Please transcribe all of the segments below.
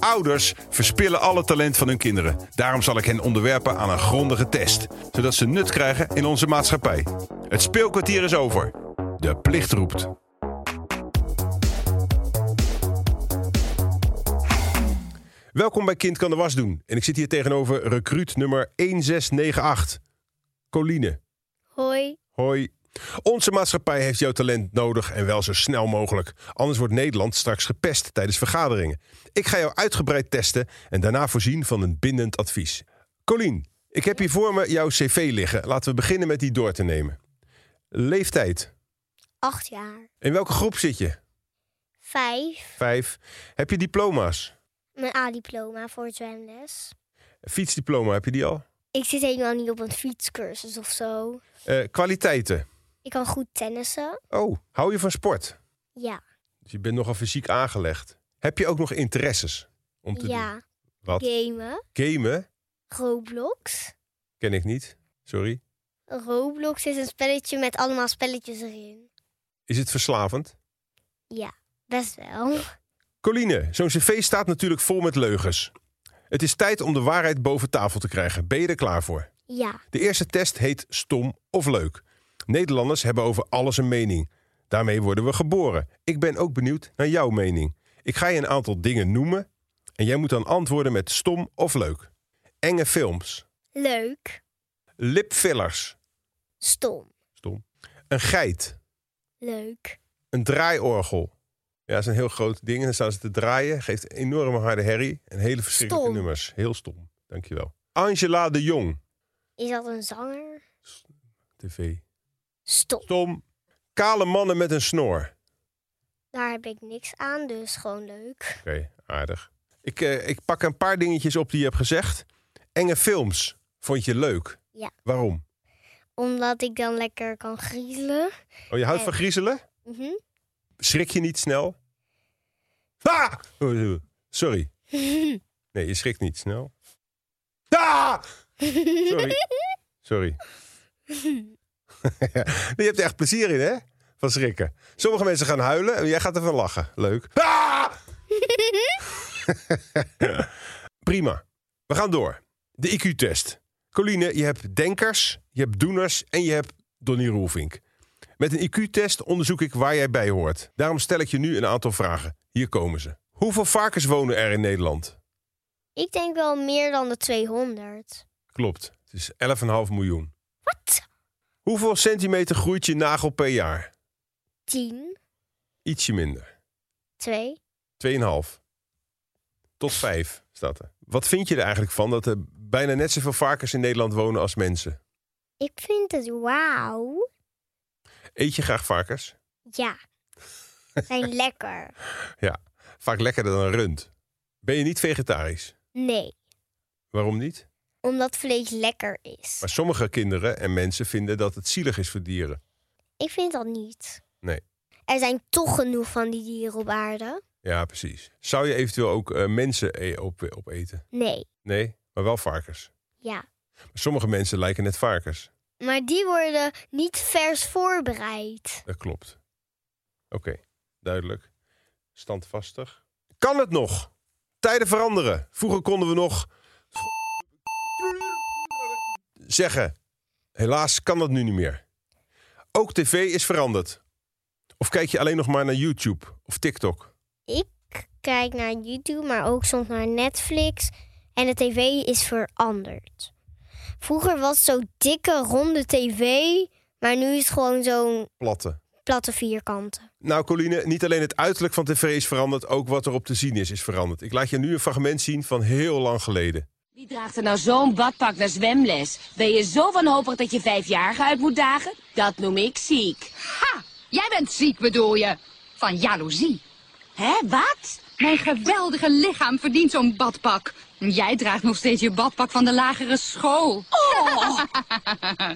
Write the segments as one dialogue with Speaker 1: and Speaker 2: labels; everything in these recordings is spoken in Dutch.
Speaker 1: Ouders verspillen alle talent van hun kinderen. Daarom zal ik hen onderwerpen aan een grondige test, zodat ze nut krijgen in onze maatschappij. Het speelkwartier is over. De plicht roept. Welkom bij Kind kan de was doen. En ik zit hier tegenover recruut nummer 1698. Coline,
Speaker 2: Hoi.
Speaker 1: hoi. Onze maatschappij heeft jouw talent nodig en wel zo snel mogelijk. Anders wordt Nederland straks gepest tijdens vergaderingen. Ik ga jou uitgebreid testen en daarna voorzien van een bindend advies. Colien, ik heb hier voor me jouw cv liggen. Laten we beginnen met die door te nemen. Leeftijd.
Speaker 2: Acht jaar.
Speaker 1: In welke groep zit je?
Speaker 2: Vijf.
Speaker 1: Vijf. Heb je diploma's?
Speaker 2: Mijn A-diploma voor het zwemles.
Speaker 1: Fietsdiploma, heb je die al?
Speaker 2: Ik zit helemaal niet op een fietscursus of zo.
Speaker 1: Eh, kwaliteiten.
Speaker 2: Ik kan goed tennissen.
Speaker 1: Oh, hou je van sport?
Speaker 2: Ja.
Speaker 1: Dus je bent nogal fysiek aangelegd. Heb je ook nog interesses om te doen?
Speaker 2: Ja.
Speaker 1: Wat?
Speaker 2: Gamen.
Speaker 1: Gamen
Speaker 2: Roblox.
Speaker 1: ken ik niet. Sorry.
Speaker 2: Roblox is een spelletje met allemaal spelletjes erin.
Speaker 1: Is het verslavend?
Speaker 2: Best wel.
Speaker 1: Coline, zo'n cv staat natuurlijk vol met leugens. Het is tijd om de waarheid boven tafel te krijgen. Ben je er klaar voor?
Speaker 2: Ja.
Speaker 1: De eerste test heet stom of leuk. Nederlanders hebben over alles een mening. Daarmee worden we geboren. Ik ben ook benieuwd naar jouw mening. Ik ga je een aantal dingen noemen en jij moet dan antwoorden met stom of leuk. Enge films,
Speaker 2: Leuk.
Speaker 1: lipfillers,
Speaker 2: Stom.
Speaker 1: Stom. Een geit.
Speaker 2: Leuk.
Speaker 1: Een draaiorgel. Ja, dat is een heel groot ding. En dan staan ze te draaien. Geeft enorme harde herrie. En hele verschrikkelijke
Speaker 2: Stom.
Speaker 1: nummers. Heel stom. Dankjewel. Angela de Jong.
Speaker 2: Is dat een zanger?
Speaker 1: TV.
Speaker 2: Stom.
Speaker 1: Stom. Kale mannen met een snor. Oké,
Speaker 2: Daar heb ik niks aan, dus gewoon leuk.
Speaker 1: aardig. Ik, eh, ik pak een paar dingetjes op die je hebt gezegd. Enge films. Vond je leuk?
Speaker 2: Ja.
Speaker 1: Waarom?
Speaker 2: Omdat ik dan lekker kan griezelen.
Speaker 1: Oh, je houdt
Speaker 2: Eh.
Speaker 1: van griezelen?
Speaker 2: Mhm.
Speaker 1: Schrik je niet snel? Ah! Oh, Sorry. Nee, je schrikt niet snel. Ah! Sorry. Sorry. je hebt er echt plezier in, hè? Van schrikken. Sommige mensen gaan huilen en jij gaat ervan lachen. Leuk. Ah! Prima. We gaan door. De IQ-test. Coline, je hebt denkers, je hebt doeners en je hebt Donnie Roelvink. Met een IQ-test onderzoek ik waar jij bij hoort. Daarom stel ik je nu een aantal vragen. Hier komen ze. Hoeveel varkens wonen er in Nederland?
Speaker 2: Ik denk wel meer dan de 200.
Speaker 1: Klopt, het is 11,5 miljoen.
Speaker 2: Wat?
Speaker 1: Hoeveel centimeter groeit je nagel per jaar?
Speaker 2: 10,
Speaker 1: Ietsje minder.
Speaker 2: 2.
Speaker 1: 2,5. Tot 5 staat er. Wat vind je er eigenlijk van dat er bijna net zoveel varkens in Nederland wonen als mensen?
Speaker 2: Ik vind het wauw.
Speaker 1: Eet je graag varkens?
Speaker 2: Ja. Zijn lekker.
Speaker 1: Vaak lekkerder dan een rund. Ben je niet vegetarisch?
Speaker 2: Nee,
Speaker 1: Waarom niet?
Speaker 2: omdat vlees lekker is.
Speaker 1: Maar sommige kinderen en mensen vinden dat het zielig is voor dieren.
Speaker 2: Ik vind dat niet.
Speaker 1: Nee.
Speaker 2: Er zijn toch genoeg van die dieren op aarde?
Speaker 1: Ja, precies. Zou je eventueel ook eh, mensen e- op- opeten?
Speaker 2: Nee.
Speaker 1: Nee, maar wel varkens.
Speaker 2: Ja.
Speaker 1: Maar sommige mensen lijken net varkens.
Speaker 2: Maar die worden niet vers voorbereid.
Speaker 1: Dat klopt. Oké, duidelijk. Standvastig. Kan het nog? Tijden veranderen. Vroeger konden we nog zeggen. Helaas kan dat nu niet meer. Ook tv is veranderd. Of kijk je alleen nog maar naar YouTube of TikTok?
Speaker 2: Ik kijk naar YouTube, maar ook soms naar Netflix. En de tv is veranderd. Vroeger was het zo'n dikke, ronde tv. Maar nu is het gewoon zo'n
Speaker 1: Platte.
Speaker 2: platte vierkante.
Speaker 1: Nou, Coline, niet alleen het uiterlijk van tv is veranderd, ook wat er op te zien is, is veranderd. Ik laat je nu een fragment zien van heel lang geleden.
Speaker 3: Wie draagt er nou zo'n badpak naar zwemles? Ben je zo wanhopig dat je vijfjarigen uit moet dagen? Dat noem ik ziek.
Speaker 4: Ha! Jij bent ziek, bedoel je? Van jaloezie.
Speaker 3: Hè, wat?
Speaker 4: Mijn geweldige lichaam verdient zo'n badpak. Jij draagt nog steeds je badpak van de lagere school.
Speaker 3: Oh.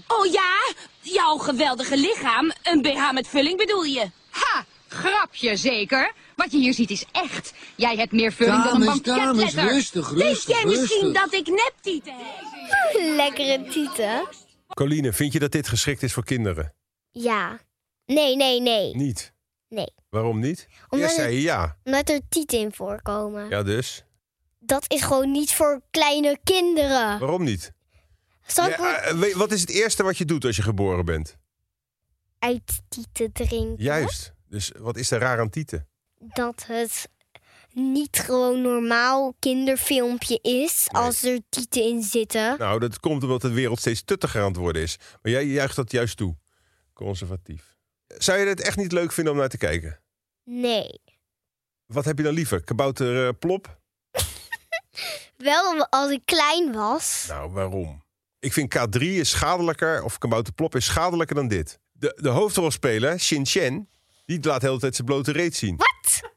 Speaker 3: oh ja, jouw geweldige lichaam. Een BH met vulling bedoel je?
Speaker 4: Ha! Grapje zeker? Wat je hier ziet is echt. Jij hebt meer vulling dan een
Speaker 5: Dames, dames,
Speaker 4: banketletter.
Speaker 5: rustig,
Speaker 3: Denk
Speaker 5: rustig,
Speaker 3: jij misschien
Speaker 5: rustig.
Speaker 3: dat ik neptieten heb?
Speaker 2: Lekkere tieten.
Speaker 1: Coline, vind je dat dit geschikt is voor kinderen?
Speaker 2: Ja. Nee, nee, nee.
Speaker 1: Niet.
Speaker 2: Nee.
Speaker 1: Waarom niet?
Speaker 2: Omdat
Speaker 1: Eerst zei
Speaker 2: het-
Speaker 1: je ja.
Speaker 2: Omdat er tieten in voorkomen.
Speaker 1: Ja, dus?
Speaker 2: dat is gewoon niet voor kleine kinderen.
Speaker 1: Waarom niet?
Speaker 2: Zal ik
Speaker 1: Ja,
Speaker 2: wat
Speaker 1: eh, weet- wat is het eerste wat je doet als je geboren bent?
Speaker 2: uit tieten drinken?
Speaker 1: Juist. Dus wat is er raar aan tieten?
Speaker 2: Dat het niet gewoon normaal kinderfilmpje is
Speaker 1: Nee.
Speaker 2: als er tieten in zitten.
Speaker 1: Nou, dat komt omdat de wereld steeds tuttiger aan het worden is. Maar jij juicht dat juist toe. Conservatief. Zou je het echt niet leuk vinden om naar te kijken?
Speaker 2: Nee.
Speaker 1: Wat heb je dan liever? Kabouter eh, Plop?
Speaker 2: Wel om- als ik klein was.
Speaker 1: Nou, waarom? Ik vind K3 is schadelijker, of Kabouter Plop is schadelijker dan dit. De, de hoofdrolspeler, Shin Chen, die laat de hele tijd zijn blote reet zien.
Speaker 2: Wat?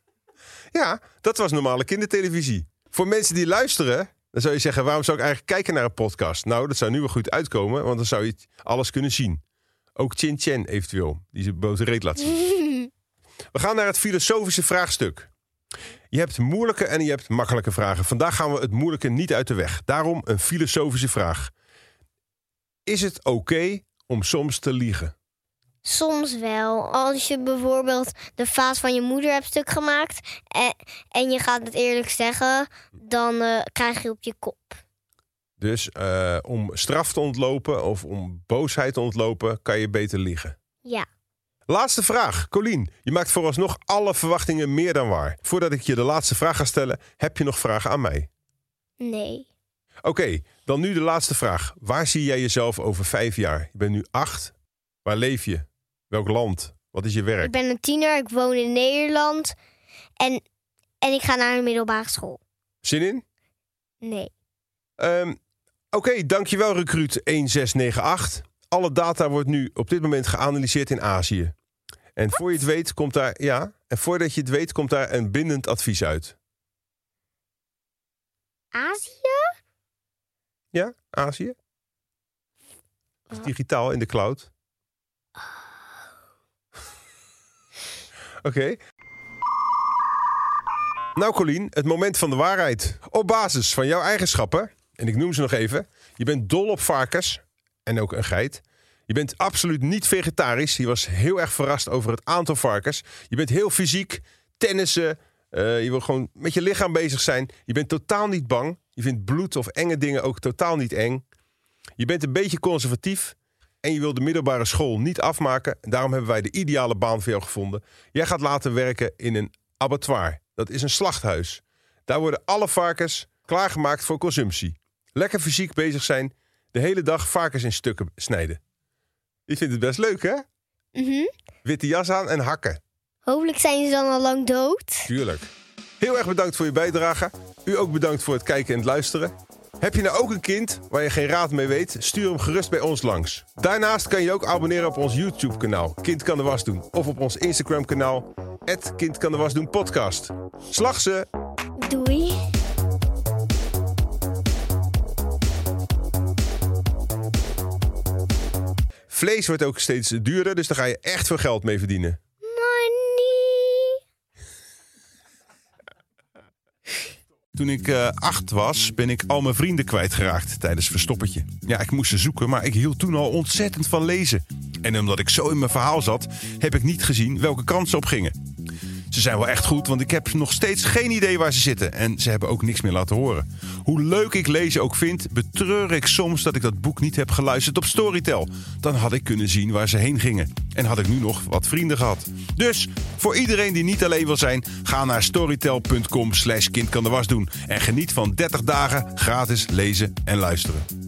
Speaker 1: Ja, dat was normale kindertelevisie. Voor mensen die luisteren, dan zou je zeggen: waarom zou ik eigenlijk kijken naar een podcast? Nou, dat zou nu wel goed uitkomen, want dan zou je alles kunnen zien. Ook Chin Chen eventueel, die zijn blote reet laat zien. We gaan naar het filosofische vraagstuk. Je hebt moeilijke en je hebt makkelijke vragen. Vandaag gaan we het moeilijke niet uit de weg. Daarom een filosofische vraag. Is het oké om soms te liegen?
Speaker 2: Soms wel. Als je bijvoorbeeld de vaas van je moeder hebt stuk gemaakt en, en je gaat het eerlijk zeggen, dan eh, krijg je op je kop.
Speaker 1: Dus eh, om straf te ontlopen of om boosheid te ontlopen, kan je beter liegen.
Speaker 2: Ja.
Speaker 1: Laatste vraag, Colien. Je maakt vooralsnog alle verwachtingen meer dan waar. Voordat ik je de laatste vraag ga stellen, heb je nog vragen aan mij?
Speaker 2: Nee.
Speaker 1: Oké, dan nu de laatste vraag. Waar zie jij jezelf over vijf jaar? Je bent nu acht. Waar leef je? Welk land? Wat is je
Speaker 2: Ik
Speaker 1: werk?
Speaker 2: ben een tiener, ik woon in Nederland en, en ik ga naar een middelbare school.
Speaker 1: Zin in?
Speaker 2: Nee.
Speaker 1: Ehm, Oké, dankjewel recruit 1698. Alle data wordt nu op dit moment geanalyseerd in Azië. En voor je het weet komt daar, ja, en voordat je het weet komt daar een bindend advies uit.
Speaker 2: Azië?
Speaker 1: Ja, Azië? Dat is digitaal in de cloud.
Speaker 2: Ah.
Speaker 1: Oké. Nou Colien, het moment van de waarheid. Op basis van jouw eigenschappen, en ik noem ze nog even. Je bent dol op varkens en ook een geit. Je bent absoluut niet vegetarisch. Je was heel erg verrast over het aantal varkens. Je bent heel fysiek, tennissen. eh, je wil gewoon met je lichaam bezig zijn. Je bent totaal niet bang. Je vindt bloed of enge dingen ook totaal niet eng. Je bent een beetje conservatief en je wil de middelbare school niet afmaken. En daarom hebben wij de ideale baan voor jou gevonden. Jij gaat later werken in een abattoir. Dat is een slachthuis. Daar worden alle varkens klaargemaakt voor consumptie. Lekker fysiek bezig zijn, de hele dag varkens in stukken snijden. Je vindt het best leuk, hè?
Speaker 2: Mhm.
Speaker 1: Witte jas aan en hakken.
Speaker 2: Hopelijk zijn ze dan al lang dood.
Speaker 1: Tuurlijk. Heel erg bedankt voor je bijdrage. U ook bedankt voor het kijken en het luisteren. Heb je nou ook een kind waar je geen raad mee weet? Stuur hem gerust bij ons langs. Daarnaast kan je ook abonneren op ons YouTube-kanaal Kind kan de was doen. Of op ons Instagram-kanaal Kind kan de was doen podcast. Slag ze!
Speaker 2: Doei.
Speaker 1: Vlees wordt ook steeds duurder, dus daar ga je echt veel geld mee verdienen.
Speaker 2: Money.
Speaker 1: Toen ik eh, acht was, ben ik al mijn vrienden kwijtgeraakt tijdens Verstoppertje. Ja, ik moest ze zoeken, maar ik hield toen al ontzettend van lezen. En omdat ik zo in mijn verhaal zat, heb ik niet gezien welke kant ze op gingen. Ze zijn wel echt goed, want ik heb nog steeds geen idee waar ze zitten. En ze hebben ook niks meer laten horen. Hoe leuk ik lezen ook vind, betreur ik soms dat ik dat boek niet heb geluisterd op Storytel. Dan had ik kunnen zien waar ze heen gingen. En had ik nu nog wat vrienden gehad. Dus, voor iedereen die niet alleen wil zijn, ga naar storytel.com slash kind kan de was doen. En geniet van 30 dagen gratis lezen en luisteren.